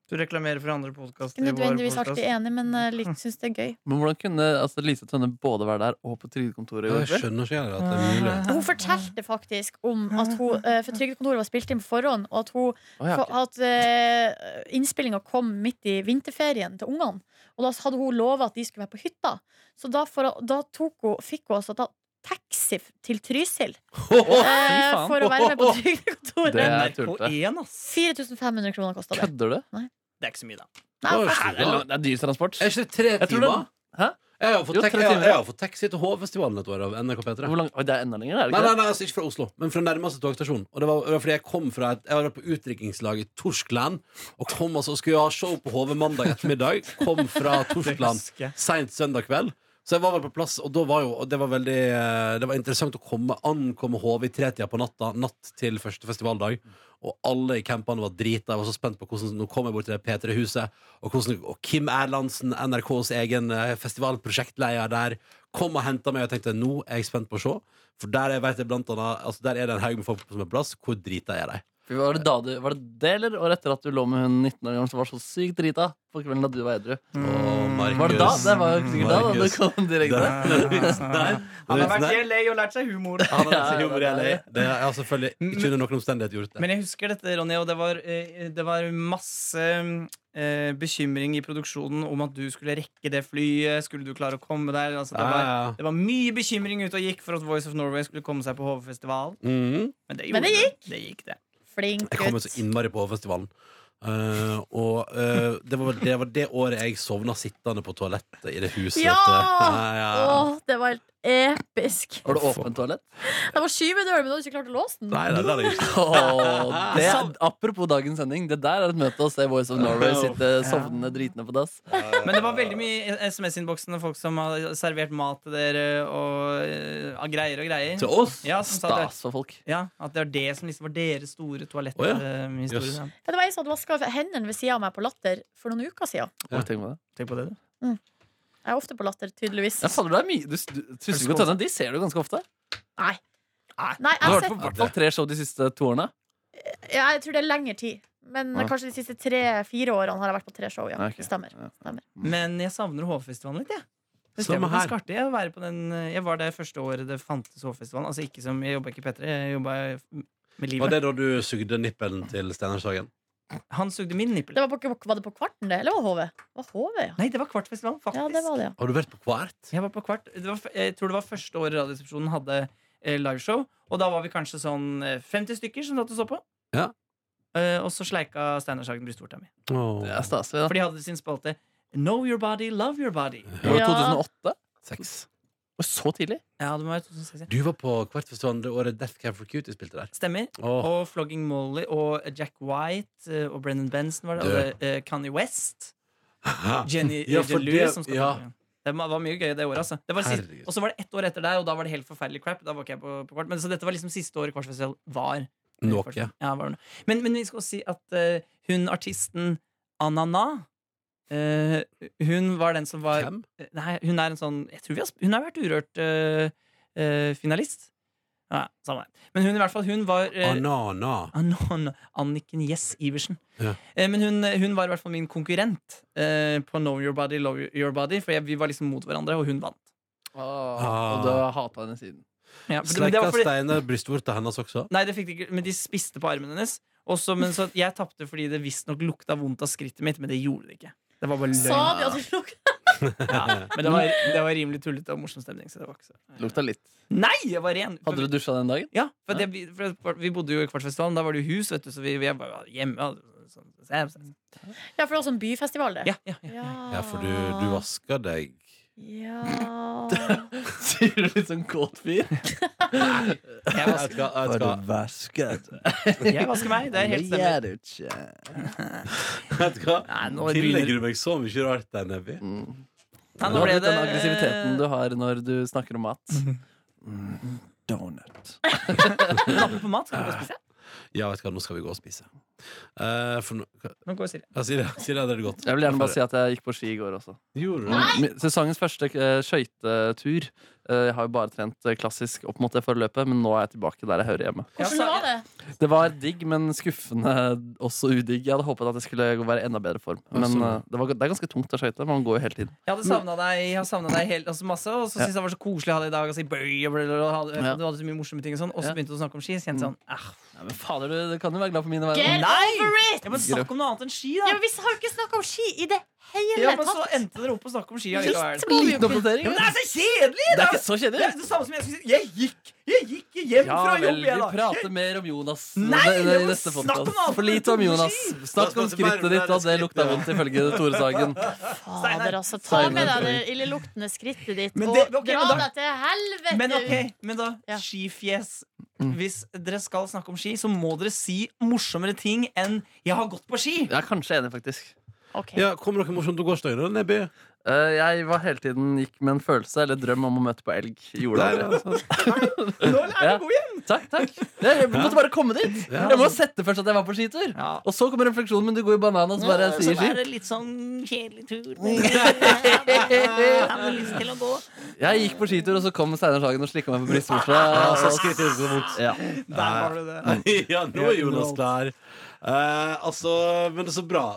S1: Du reklamerer for andre podkaster.
S2: Ikke nødvendigvis alltid enig, men jeg syns det er gøy.
S4: Men hvordan kunne altså, Lise Tønne både være der og på trygdekontoret? i går
S3: Jeg
S4: kveld?
S3: skjønner ikke heller at det er mulig.
S2: Hun fortalte faktisk om at hun eh, For Trygdekontoret var spilt inn på forhånd, og at hun
S4: Å, ja,
S2: For
S4: ok.
S2: at uh, innspillinga kom midt i vinterferien til ungene. Og da hadde hun lova at de skulle være på hytta. Så da, for, å- da tok hun, fikk hun altså da taxi f- til Trysil eh,
S4: faen.
S2: for å være med på
S4: Det
S2: Trygdekontoret.
S4: er tullete.
S1: NRK1, ass.
S2: 4500 kroner kosta det.
S4: Kødder du?
S1: Det er ikke så mye, da.
S2: Nei,
S3: Oi,
S2: faen.
S4: Nei, Det er, lang- det er dyr transport.
S3: Er ikke det tre
S4: Jeg tror
S3: timer?
S4: det- Hæ?
S3: Jeg har fått,
S4: Jo,
S3: tek-
S4: tre
S3: jeg,
S4: timer.
S3: jeg har fått taxi til Hovfestivalen et år av NRK P3.
S4: Hvor lang, oi, det er enda lenger, er det
S3: Nei,
S4: ikke?
S3: nei, nei, altså ikke fra Oslo, men fra nærmeste togstasjon. Og det var, det var fordi jeg kom fra et, Jeg var på utdrikningslag i Torskland. Og kom altså, skulle ha show på HV mandag ettermiddag. Kom fra Torskland
S1: husker jeg.
S3: seint søndag kveld. Så jeg var vel på plass, og da var jo og det var veldig eh, Det var interessant å komme ankomme HV i tretida på natta, natt til første festivaldag. Og alle i campene var drita. Jeg var så spent på hvordan Nå kom jeg bort til det P3-huset. Og, hvordan, og Kim Erlandsen, NRKs egen eh, festivalprosjektleder der, kom og henta meg. Og jeg tenkte nå er jeg spent på å se. For der jeg vet jeg blant annet, altså der er det en haug med folk som er på plass. Hvor drita er de?
S4: For var, det da du, var det det, eller året etter at du lå med hun 19 år gammel som var så sykt drita på kvelden da du var edru?
S2: Mm.
S4: Var det da?
S3: Markus.
S4: Det var jo sikkert da, da du kom direkte.
S1: Ah. Han har vært i LA og lært seg humor.
S3: Han har
S4: Ja,
S3: sin humor i LA.
S4: det
S3: Det har jeg selvfølgelig ikke under noen omstendighet gjort. det
S1: Men jeg husker dette, Ronny, og det var, eh, det var masse eh, bekymring i produksjonen om at du skulle rekke det flyet. Skulle du klare å komme der? Altså, det,
S3: Ja,
S1: var,
S3: ja.
S1: det var mye bekymring ute og gikk for at Voice of Norway skulle komme seg på HV-festivalen.
S3: Mhm.
S1: Men det,
S2: Men det
S1: gjorde det gikk, det.
S2: Flink
S3: Jeg kom jo
S2: gutt.
S3: så innmari på festivalen. Eh, og eh, det, var, det var det året jeg sovna sittende på toalettet i det huset.
S2: Ja!
S3: Ja, ja.
S2: Åh, det var helt episk.
S4: Var det åpent toalett?
S2: Det var skyvedør, men du hadde ikke klart å låse den.
S3: Nei, nei, det hadde jeg ikke.
S4: Åh, det, apropos dagens sending, det der er et møte å se Voice of Norway sitte sovnende dritende på dass.
S1: Men det var veldig mye i SMS-innboksen og folk som har servert mat til dere og eh, av greier og greier.
S3: Til oss?
S1: Ja, som sa det.
S4: Stas for folk.
S1: Ja, At det var det som liksom var deres store
S3: Å,
S1: eh,
S3: ja.
S1: toaletthistorie.
S3: Jøss.
S2: Ja, det var ei som hadde vaska hendene ved sida av meg på Latter for noen uker siden.
S4: Oi, tenk på det.
S1: Tenk på det, du.
S2: Jeg er ofte på Latter, tydeligvis.
S4: Ja, fader, det er mye. Du, du, Tusen godt hende. De ser du ganske ofte.
S2: Nei. Nei, jeg
S4: Du har
S2: har
S4: vært
S2: sett
S4: på i hvert fall tre show de siste to årene.
S2: Ja, jeg tror det er lengre tid. Men
S4: Ja.
S2: kanskje de siste tre-fire årene har jeg vært på tre show. Ja.
S4: Ja, ok.
S2: Det stemmer.
S4: Ja.
S1: Men jeg savner HV-festivalen litt, jeg. Det
S3: Samme
S1: stemmer
S3: her.
S1: ganske artig å være på den eh, Jeg var der første året det fantes HV-festivalen. Altså ikke som Jeg jobba ikke i P3, jeg jobba med
S3: Var
S1: livet.
S3: det da du sugde nippelen til Steinar Sagen?
S1: Han sugde min nippel.
S2: Det var, på, var det på Kvarten, det? Eller var det HV? Det var HV, ja.
S1: Nei, det var Kvartfestivalen, faktisk.
S2: Ja, det var det, ja.
S3: Har du vært på kvart?
S1: Jeg var på Kvart. Det var, f- jeg tror det var første året Radioresepsjonen hadde eh, liveshow. Og da var vi kanskje sånn eh, 50 stykker som satt og så på.
S3: Ja.
S1: Eh, og så sleika Steinar Sagen brystvorta mi.
S4: Det er staselig, da.
S1: For de hadde sin spalte Know your body, love your body.
S4: Det var
S2: Ja.
S4: 2008.
S3: Seks.
S4: Og så tidlig.
S1: Ja, det må være 2006. ja.
S3: Du var på Kvartfestivalen det året Death Cab for Cutie spilte der.
S1: Stemmer.
S3: Åh,
S1: Og Flogging Molly og Jack White eh, og Brennan Benson var det. Og
S3: Du.
S1: det, eh, Kanye West.
S3: hæ?
S1: Jenny
S3: Ja, for
S1: Jenny Lewis
S3: det-
S1: som skal
S3: ja.
S1: Det var mye gøy det året. Altså. Det var sist,
S3: Herregud.
S1: og så var det ett år etter der, og da var det helt forferdelig crap. Da var ikke jeg på, på kvart. Men, så dette var liksom siste året Kvartfestival var.
S3: Noe.
S1: Ja, var noe. Men, men vi skal også si at eh, hun artisten Anana eh, hun var den som var
S3: Hvem?
S1: Nei, hun er en sånn jeg tror vi har, sp- Hun har vært urørt eh, eh, finalist. Ja, samme det. Men hun i hvert fall, hun var eh,
S3: Ah, Anana.
S1: Anon, Anniken Jess Iversen.
S3: Ja.
S1: Eh, men hun, hun var i hvert fall min konkurrent eh, på Know Your Body, Love Your Body. For jeg, vi var liksom mot hverandre, og hun vant.
S4: Og du har hata henne siden.
S1: Ja, for det- men det
S3: Sleika
S1: var fordi-
S3: Steinar brystvorta hennes også?
S1: nei, det fikk de ikke, men de spiste på armen hennes. Også, men så at jeg tapte fordi det visstnok lukta vondt av skrittet mitt, men det gjorde det ikke. Det var bare
S2: Sa
S1: løgn.
S2: de at du lukket
S1: Ja, men det var, det var rimelig tullete og morsom stemning. Så det var ikke så.
S4: Lukta litt.
S1: Nei, jeg var ren! For-
S4: Hadde du dusja den dagen?
S1: Ja, for, det, vi- for vi bodde jo i Kvartfestivalen. Da var det jo hus, vet du, så vi, vi var hjemme. og sånn.
S2: Ja, for det var sånn byfestival, det.
S1: Ja, ja, ja.
S2: ja.
S3: Ja, for du, du vasker deg
S2: Ja.
S4: Sier du litt sånn kåt fyr?
S1: Jeg vasker,
S3: skal- jeg skal-
S4: vasket?
S1: jeg vasker meg. Det er helt stemmer.
S4: du ikke.
S3: Vet du hva?
S1: Nei, nå begynner-
S3: Tillegger du meg så mye rart der, Nebby?
S1: Nei,
S4: Du har litt den aggressiviteten du har når du snakker om mat. Donut.
S1: Nappe eh, på mat. Skal du gå og spise?
S3: Ja, vet du hva, nå skal vi gå og spise. Eh, for nå hva-
S1: Nå går jeg og sier det.
S3: ja, Silje, Silje hadde det godt.
S4: Jeg vil gjerne bare si at jeg gikk på ski i går også.
S3: Gjorde du det?
S4: Min- Sesongens første eh, skøytetur. Eh, Jeg har jo bare trent eh, klassisk opp mot det forløpet, men nå er jeg tilbake der jeg hører hjemme.
S1: Ja,
S2: Hvordan
S1: så-
S2: var det?
S4: Det var digg, men skuffende også udigg. Jeg hadde håpet at jeg skulle være i enda bedre form. Men
S3: Altså.
S4: eh, det, var, det er ganske tungt å skøyte. Man går jo hele tiden.
S1: Jeg hadde savna deg, jeg har savnet deg helt, altså masse, og så syntes jeg det var så koselig å ha deg i dag. Altså, i bøy, og bla, bla, bla, og hadde-
S4: Ja.
S1: Du hadde så mye morsomme ting, og sånn Og
S4: Ja.
S1: så
S4: Mm.
S1: begynte du å snakke om ski. Så kjente jeg sånn ah,
S4: Nei, men fader, du, du kan jo være glad på mine vegne.
S2: Get over it!
S1: Jeg må snakke om noe annet enn ski,
S2: Ja,
S1: da!
S2: men vi har jo ikke snakka om ski i det hele
S1: Ja, men så
S2: tatt!
S1: endte dere opp på å snakke om ski allikevel.
S2: Litt må vi jo
S4: Liten
S2: kunne
S4: oppdatering.
S1: Ja, men det
S4: Det
S1: er så kjedelig!
S4: er
S1: da!
S4: ikke så
S1: Det er
S4: kjedelig.
S1: det samme som jeg skulle si. Jeg gikk, jeg gikk hjem
S4: Ja
S1: fra
S4: vel,
S1: jobb,
S4: vi
S1: jeg, da.
S4: prater mer om Jonas
S1: Nei,
S4: i
S1: det var
S4: neste
S1: snakk om
S4: podcast.
S1: alt.
S4: For lite om Jonas. Snakk om
S3: Snakk om
S4: skrittet ditt, og det lukta vondt ifølge Tore Sagen.
S2: Fader, altså. Ta
S4: Steinar.
S2: med deg det illeluktende skrittet ditt
S1: Men
S2: og
S1: det- ok,
S2: dra
S1: men da-
S2: deg til helvete!
S1: Men ok, men da,
S2: Ja.
S1: skifjes
S4: Mm.
S1: Hvis dere skal snakke om ski, så må dere si morsommere ting enn 'jeg har gått på ski'.
S4: Jeg er kanskje enig, faktisk.
S2: Ok.
S3: Ja, Kommer noe morsomt til gårsdagen, da, Nebby?
S4: Eh, Jeg var hele tiden gikk med en følelse eller drøm om å møte på elg i
S3: Der,
S4: jorda.
S3: altså.
S1: Nå er
S4: Ja.
S1: du god igjen!
S4: Takk, takk. Jeg jeg måtte bare komme dit.
S3: Ja.
S4: Jeg må sette først at jeg var på skitur.
S1: Ja.
S4: Og så kommer refleksjonen, men du går i banan og så bare sier ski.
S1: det litt sånn kjedelig tur.
S4: Jeg gikk på skitur, og så kom Steinar Sagen og slikka meg på brystvorta.
S3: Ja, så
S4: og så-
S3: skritt inn så vondt.
S4: Ja.
S1: Der var du det.
S4: Mm.
S3: Ja, nå er Jonas klar. Eh, altså, men det er så bra.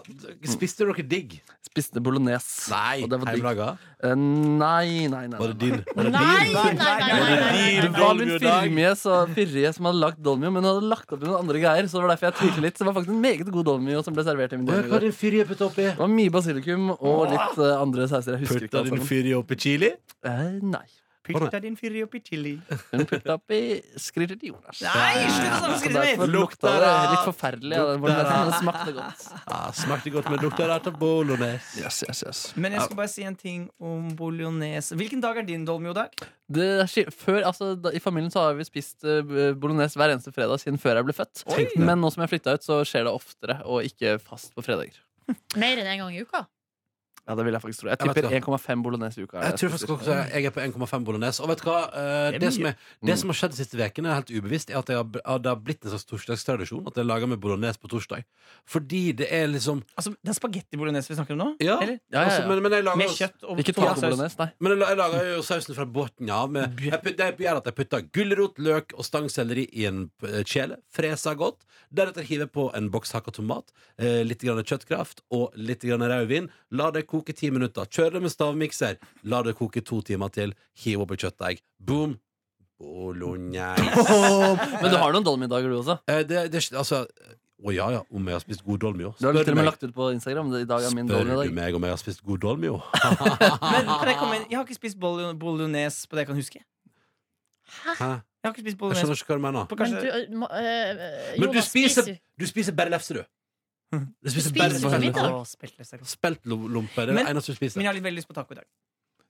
S3: Spiste dere digg?
S4: Spiste bolognese. og det var digg.
S3: heimelaga?
S4: Eh, Nei, nei, nei.
S3: Var
S4: nei.
S3: det din?
S2: Nei, nei, nei, nei, nei, nei, nei.
S4: Det var min
S3: Dolmio dag.
S4: fyrmige, så fyrige som hadde lagd dolmio, men hun hadde lagt opp i noen andre greier. Så det var derfor jeg tvilte litt. Så det var faktisk en meget god dolmio som ble servert i min
S3: Hva
S4: tur. i
S3: har
S4: går.
S3: din fyr puttet oppi?
S4: Det var mye basilikum og litt eh, andre sauser. Jeg husker ikke
S3: Putta
S4: alt
S3: din
S4: sammen.
S3: fyr oppi chili?
S4: Eh, Nei.
S1: Putta din fyr oppi chili.
S4: Hun putta oppi skrittet til Jonas.
S1: Nei, slutt
S4: Så
S1: å sammenskrive
S4: derfor
S1: mitt!
S4: lukta
S3: Lukta
S4: det
S3: rart.
S4: litt forferdelig. Ja, den
S3: Lukta
S4: bolognesen, men det smakte godt.
S3: Ah, smakte godt, men lukta rart av bolognese.
S4: Yes, yes, yes.
S1: Men jeg skal bare si en ting om bolognese. Hvilken dag er din dolmio-dag?
S4: Det er, ski- før, altså, da, I familien så har vi spist eh, bolognese hver eneste fredag siden før jeg ble født.
S3: Tenk det.
S4: Men nå som jeg flytta ut, så skjer det oftere, og ikke fast på fredager.
S2: Mer enn én gang i uka.
S4: Ja, det vil jeg faktisk tro. Jeg
S3: Jeg vet
S4: tipper
S3: det.
S4: 1,5 bolognese i uka. er
S3: Jeg
S4: det
S3: tror
S4: spiser.
S3: faktisk også jeg er på 1,5 bolognese. Og vet du hva? Eh,
S1: Det er
S3: Det som,
S1: mye.
S3: er, det som har skjedd de siste ukene, er helt ubevisst, er at jeg har, at det har blitt en slags torsdagstradisjon at jeg lager med bolognese på torsdag. Fordi det er liksom
S1: Altså, Det er spagetti bolognese vi snakker om nå?
S3: Ja,
S1: Eller?
S4: Ja, ja,
S3: Altså,
S4: ja.
S3: men, men jeg lager
S1: Med
S3: også-
S1: kjøtt og
S4: Ikke
S3: Ja,
S4: taco
S3: saus.
S4: bolognese, nei.
S3: Men jeg la- jeg lager jo sausen fra bunnen av. Med, jeg, put- det gjør at jeg putter gulrot, løk og stangselleri i en eh, kjele. Freser godt. Deretter hiver jeg på en boks hakka tomat, eh, litt grann kjøttkraft og litt grann rødvin. La det koke ti minutter. Kjør det med stavmikser. La det koke to timer til. Hiv oppi kjøttdeig. Boom! Bolognese.
S4: Men du har noen dolmiddager, du også.
S3: Eh, det, det, altså Å ja, ja. Om jeg har spist god dolmio?
S4: Du har til og med
S3: meg.
S4: lagt ut på Instagram. I dag er min
S3: Spør du
S4: dolmidag.
S3: meg om jeg har spist god dolmio?
S1: Men kan jeg komme inn? Jeg har ikke spist bolo- bolognese på det jeg kan huske.
S3: Hæ?
S1: Jeg har ikke spist
S3: Jeg skjønner
S1: bolognese
S3: ikke hva du mener.
S1: på
S2: Men
S1: kanskje
S2: du, eh, må- eh,
S3: Men du
S2: Jonas
S3: spiser,
S2: spiser jo-
S3: du spiser bare lefse, du. Du
S2: spiser
S3: spiser, bare
S2: ikke
S3: bare
S2: middag.
S1: Å, speltløs er godt.
S3: Speltlompe. Det er
S1: Men-
S3: det eneste du
S1: Men
S3: spiser.
S1: jeg har litt veldig lyst på taco i dag.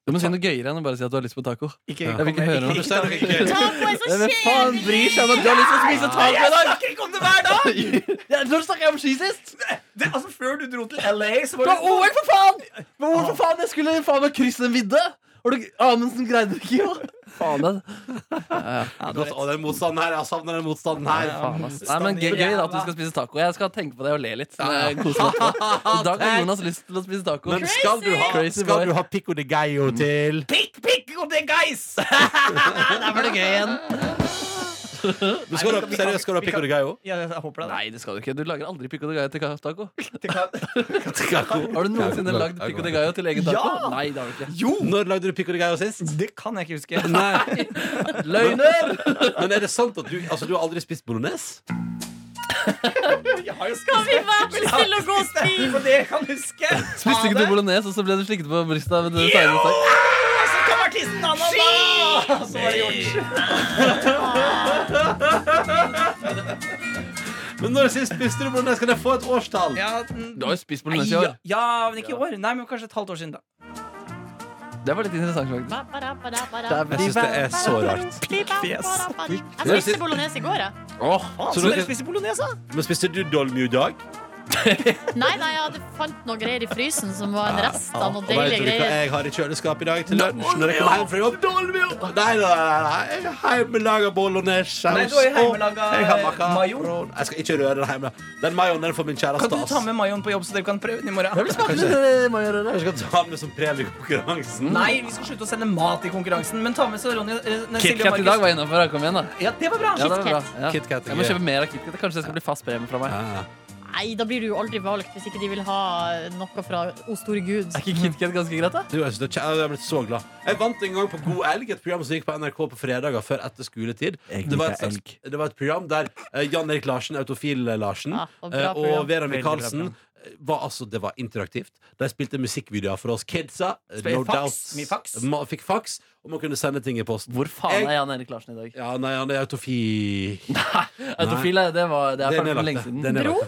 S4: Du må si noe gøyere enn å bare si at du har lyst på taco.
S1: Ikke,
S3: Ja.
S4: Jeg vil ikke høre noe.
S3: Du sier noe ikke gøy.
S2: Taco er så
S4: Hvem faen
S2: kjedelig!
S4: bryr seg om at du har lyst til å spise taco i dag?
S1: snakker ikke om det hver dag!
S4: Ja, Når snakka jeg om ski sist?
S1: Det, altså, før du dro til LA, så
S4: Det var
S1: var det
S4: OL, for faen! Det var OL, for faen! Jeg skulle faen meg krysse en vidde! Og du, Amundsen greide det ikke, jo. Faen, det.
S1: Ja, du
S3: Godt,
S1: vet.
S3: å, den motstanden her, Jeg savner den motstanden her.
S4: Faen, ass. Nei, men gøy, gøy da at du skal spise taco. Jeg skal tenke på det og le litt. når jeg koser meg etterpå. I dag har Jonas lyst til å spise taco.
S3: Men skal du ha,
S4: Crazy boy.
S3: skal du ha pico de gallo til?
S1: Pikk, pikk, og det guys!
S4: Der var det gøy igjen.
S3: Du skal du ha, seriøst, skal du ha pico de gallo?
S1: Ja, jeg håper det.
S4: Nei, det skal du ikke. Du lager aldri pico de gallo til taco.
S1: Det kan-
S4: Har du noensinne lagd pico de gallo til egen taco?
S1: Ja!
S4: Nei, det har du ikke.
S3: Jo! Når lagde du pico de gallo sist?
S1: Det kan jeg ikke huske.
S3: Nei.
S4: Løgner!
S3: Men er det sant at du altså, du har aldri spist bolognese?
S1: Jeg har jo spist
S2: Kan vi
S1: det.
S2: være så snille å gå og
S1: Det er
S2: spise?
S1: på det jeg kan huske.
S4: Spiste ikke du bolognese, og så ble du slikket på brystet av en steiner og stakk?
S1: Og så kom artisten Anna da! Så var det gjort.
S3: Men når sist spiste du bolognese? Kan jeg få et årstall?
S1: Ja, den-
S4: Du har jo spist bolognese i
S1: ja,
S4: år.
S1: ja, men ikke i år. Nei, men Kanskje et halvt år siden, da.
S4: Det var litt interessant, faktisk.
S3: Jeg syns det er så rart.
S2: Jeg spiste bolognese i går, jeg.
S1: Faen,
S3: Så
S1: så
S3: dere-
S1: dere spiser bolognese? da?
S3: Men spiste du dolmio i dag?
S2: Nei, nei, jeg hadde fant noe greier i frysen som var en rest av noe
S3: Og vet
S2: deilige
S3: dere hva
S2: greier.
S3: jeg har i kjøleskapet i dag til lunsj? Når jeg kommer hjem fra jobb? Nei, nei, nei, nei. jeg har Hjemmelaga bolognese.
S1: Nei, du har jo hjemmelaga,
S3: Jeg har makka-
S1: eh, mayo.
S3: råd. Jeg skal ikke røre den hjemme. Den mayoen den får min
S1: Kan
S3: kjæreste.
S1: du ta med mayoen på jobb, så dere kan prøve den i morgen?
S3: ass. Jeg skal ta med som premie i konkurransen.
S1: Nei, vi skal slutte å sende mat i konkurransen, men ta med så Ronny eh, nei, Silje og
S4: KitKat i dag
S1: Markus.
S4: var innafor. Kom igjen, da.
S1: Ja, det var bra.
S4: Ja, det var bra.
S2: KitKat.
S4: Ja.
S3: KitKat er
S4: Jeg må
S3: gøy.
S4: kjøpe mer av KitKat. Kanskje det skal bli fast premie fra meg.
S3: Ah.
S2: Nei, da blir du jo aldri valgt hvis ikke de vil ha noe fra O store gud.
S4: Er ikke KitKat ganske greit, da?
S3: Du, jeg, synes det er kjæ- jeg er blitt så glad. Jeg vant en gang på God elg, et program som gikk på NRK på fredager før etter skoletid.
S4: Jeg
S3: Det var, et
S4: liker
S3: slags, det var et program der eh, Jan Erik Larsen, autofil eh, Larsen,
S2: Ja, Ah, og bra
S3: eh, og
S2: program.
S3: Vera
S1: Veldig bra
S3: Michaelsen
S1: program.
S3: eh, var, altså, Det var interaktivt. De spilte musikkvideoer for oss kidsa. eh,
S1: Spilte fax. Mye fax.
S3: Ma, fikk fax, og man kunne sende ting i posten.
S4: Hvor faen
S3: Jeg-
S4: er Jan Erik Larsen i dag?
S3: Ja, nei, han er autofil
S4: Autofil, det, var, det er
S3: Det er
S4: ferdig for
S3: nedlagt,
S4: lenge
S3: det.
S4: siden.
S3: Det er nedlagt.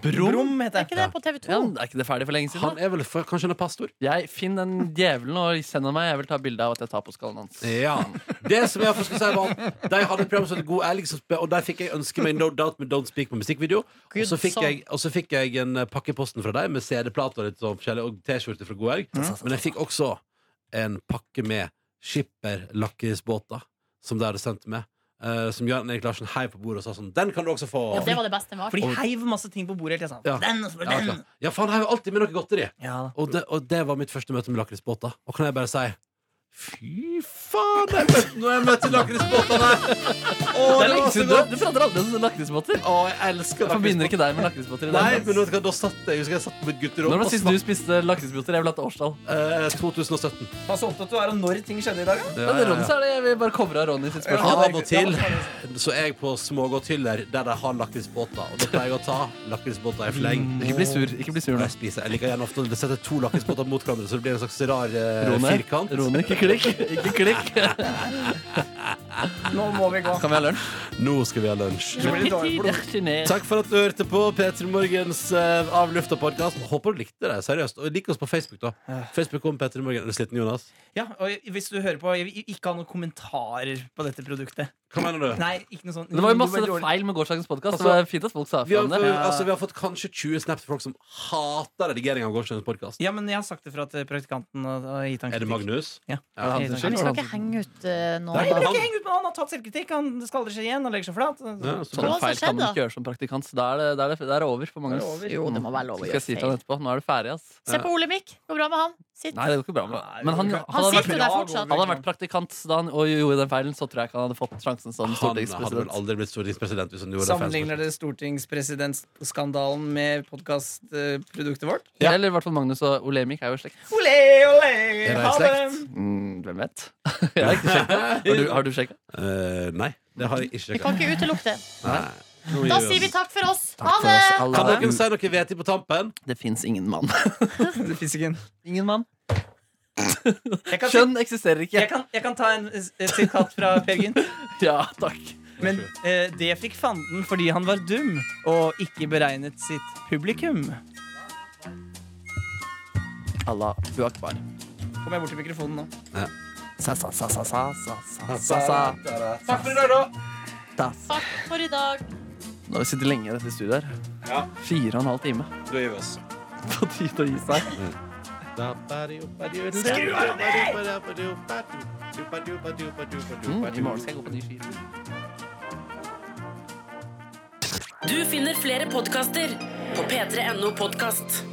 S2: Brom!
S1: Brum, heter
S2: Er
S1: jeg.
S2: ikke det på TV 2?
S4: Ja, men er ikke det ferdig for lenge siden?
S3: Han
S4: da?
S3: er vel for, Kanskje han er pastor?
S4: Jeg Finn den djevelen og send den meg. Jeg vil ta bilde av at jeg tar på skallen hans.
S3: Ja. Det som jeg skulle si var at De hadde et program som het God ærlig, som sp- og der fikk jeg ønske meg No Doubt med Don't Speak på musikkvideo. Og så fikk
S2: song.
S3: jeg, og så fikk jeg en eh, pakke i posten fra dem med CD-plater og litt sånn forskjellig, og T-skjorte fra God elg. Men jeg fikk også en pakke med skipperlakrisbåter, som de hadde sendt meg. eh, som Jørn Erik Larsen heiv på bordet og sa sånn Den kan du også få.
S2: Ja, det var det beste med
S1: For de heiv masse ting på bordet hele tiden.
S3: Ja.
S1: Sånn. Den, og så
S3: Ja,
S1: bare den.
S3: klart. ja, for han heiv alltid med noe godteri.
S1: Ja.
S3: Og det, og det var mitt første møte med lakrisbåter. Og kan jeg bare si Fy faen! Jeg møtte, når jeg møtte lakrisbåtene! Å,
S4: Det er
S3: det
S4: lenge
S3: var så
S4: siden
S3: godt!
S4: du, du prater aldri om lakrisbåter.
S3: Å, jeg elsker
S4: Jeg
S3: lakrisbåter.
S4: forbinder ikke deg med lakrisbåter. i det
S3: Nei,
S4: hele tatt.
S3: men vet du hva, da satt jeg, jeg husker jeg satt på et gutterom
S4: Når var
S3: og
S4: det sist du spiste lakrisbåter? Jeg vil ha et årstall.
S3: smakte, eh, 2017.
S1: Pass opptatt du er av når ting skjedde i dag, da.
S4: Ja, det er Ronny, så er det Jeg vil bare covre av Ronny sitt spørsmål.
S3: Av og til Eh, så er jeg på smågodthyller der de har lakrisbåter. Og da pleier jeg å ta lakrisbåter i fleng.
S4: Mm. Ikke bli sur. ikke bli sur
S3: Og
S4: nå.
S3: Jeg spiser, jeg liker gjerne ofte å sette to lakrisbåter mot hverandre, så det blir en slags rar eh,
S4: Rone,
S3: firkant.
S4: Rone, ikke klikk. Ikke klikk.
S1: Nå må vi gå.
S4: Kan vi ha lunsj?
S3: Nå skal vi ha lunsj.
S1: Det blir litt dårlig for dem.
S3: Takk for at du hørte på P3 Morgens uh, Avlufta-podkast. Håper du likte det. seriøst Og lik oss på Facebook, da. Facebook om P3 Morgen. Er du sliten, Jonas?
S1: Ja, og hvis du hører på, jeg vil ikke ha noen kommentarer på dette produktet.
S3: Hva mener du?
S1: Nei, ikke noe sånt.
S4: Det var jo
S1: Du
S4: masse
S1: er dårlig.
S4: feil med gårsdagens podkast. Det
S3: Altså,
S4: var fint at folk sa
S3: Vi
S4: fra
S3: har,
S4: om det.
S3: altså, vi har fått kanskje 20 snaps til folk som hater redigering av gårsdagens podkast.
S1: Ja, men jeg har sagt det fra til praktikanten. Og, og gitt han
S3: Er det
S1: kritikk.
S3: Magnus?
S1: Ja.
S4: Ja, han sin
S1: Nei,
S4: skyld,
S2: Vi
S4: altså. var
S2: skal
S4: det
S2: ikke
S4: han
S2: henge ut eh,
S3: Nei,
S1: Jeg
S2: noen.
S1: vil ikke henge ut med han. Han har tatt selvkritikk. Han, det skal aldri skje igjen. Han legger seg flat.
S3: Ja, så
S4: som-
S3: bra.
S4: Sånne
S2: Hva har
S4: feil kan man
S2: skjedd,
S4: ikke gjøre som praktikant. Da er det, da er det, da er det over for mange.
S1: Da er det
S4: ass.
S1: over.
S2: Jo, det må være lov å
S4: Så skal
S2: gjøre
S4: jeg si til han
S2: feil.
S4: etterpå. Nå er du ferdig, ass.
S2: Se på Olemic. Går bra med han? Sitt.
S4: Nei, det går ikke bra med Men han, han,
S2: Han
S4: hadde
S2: sitter
S4: vært,
S2: der fortsatt.
S4: han hadde vært praktikant da han og gjorde den feilen, så tror jeg ikke han hadde fått sjansen som
S3: Han hadde vel
S4: stortingspresident.
S3: aldri blitt stortingspresident hvis han gjorde det.
S1: Sammenligner dere stortingspresidentskandalen med podkastproduktet vårt?
S3: Ja.
S4: Eller i hvert fall Magnus og Olemic er jo i slekt.
S1: Ole, ole,
S3: Er det
S1: ha det!
S3: slekt?
S4: Mm, hvem vet? jeg har ikke sjekket. Har du, har du sjekket?
S3: Eh, nei, det har jeg ikke
S2: Vi kan ikke utelukke det.
S3: Nei.
S2: Da sier vi takk for oss. Ha
S4: Takk for
S2: det!
S4: oss,
S3: Kan
S4: alle.
S3: dere si noe veti på tampen?
S4: Det fins ingen mann.
S1: Det finnes ikke en-
S4: Ingen mann.
S1: Jeg kan,
S4: Kjønn eksisterer ikke.
S1: jeg kan, jeg kan ta en, et sitat fra Per Gynt.
S4: Ja, takk.
S1: Men eh, det fikk fanden fordi han var dum og ikke beregnet sitt publikum.
S4: Allah hu akbar.
S1: Kom jeg bort til mikrofonen nå.
S4: Sa, sa, sa, sa, sa, sa, sa, sa, sa.
S3: Takk for i dag, da.
S2: Takk for i dag.
S4: Nå har vi sittet lenge i dette studioet her.
S3: Ja.
S4: Fire og en halv time.
S3: Da gir vi oss.
S4: På tide å gi seg.
S3: Skru av
S4: Mm, I
S3: det!
S4: morgen skal jeg gå på ny ski.
S5: Du finner flere podkaster på p3.no podkast.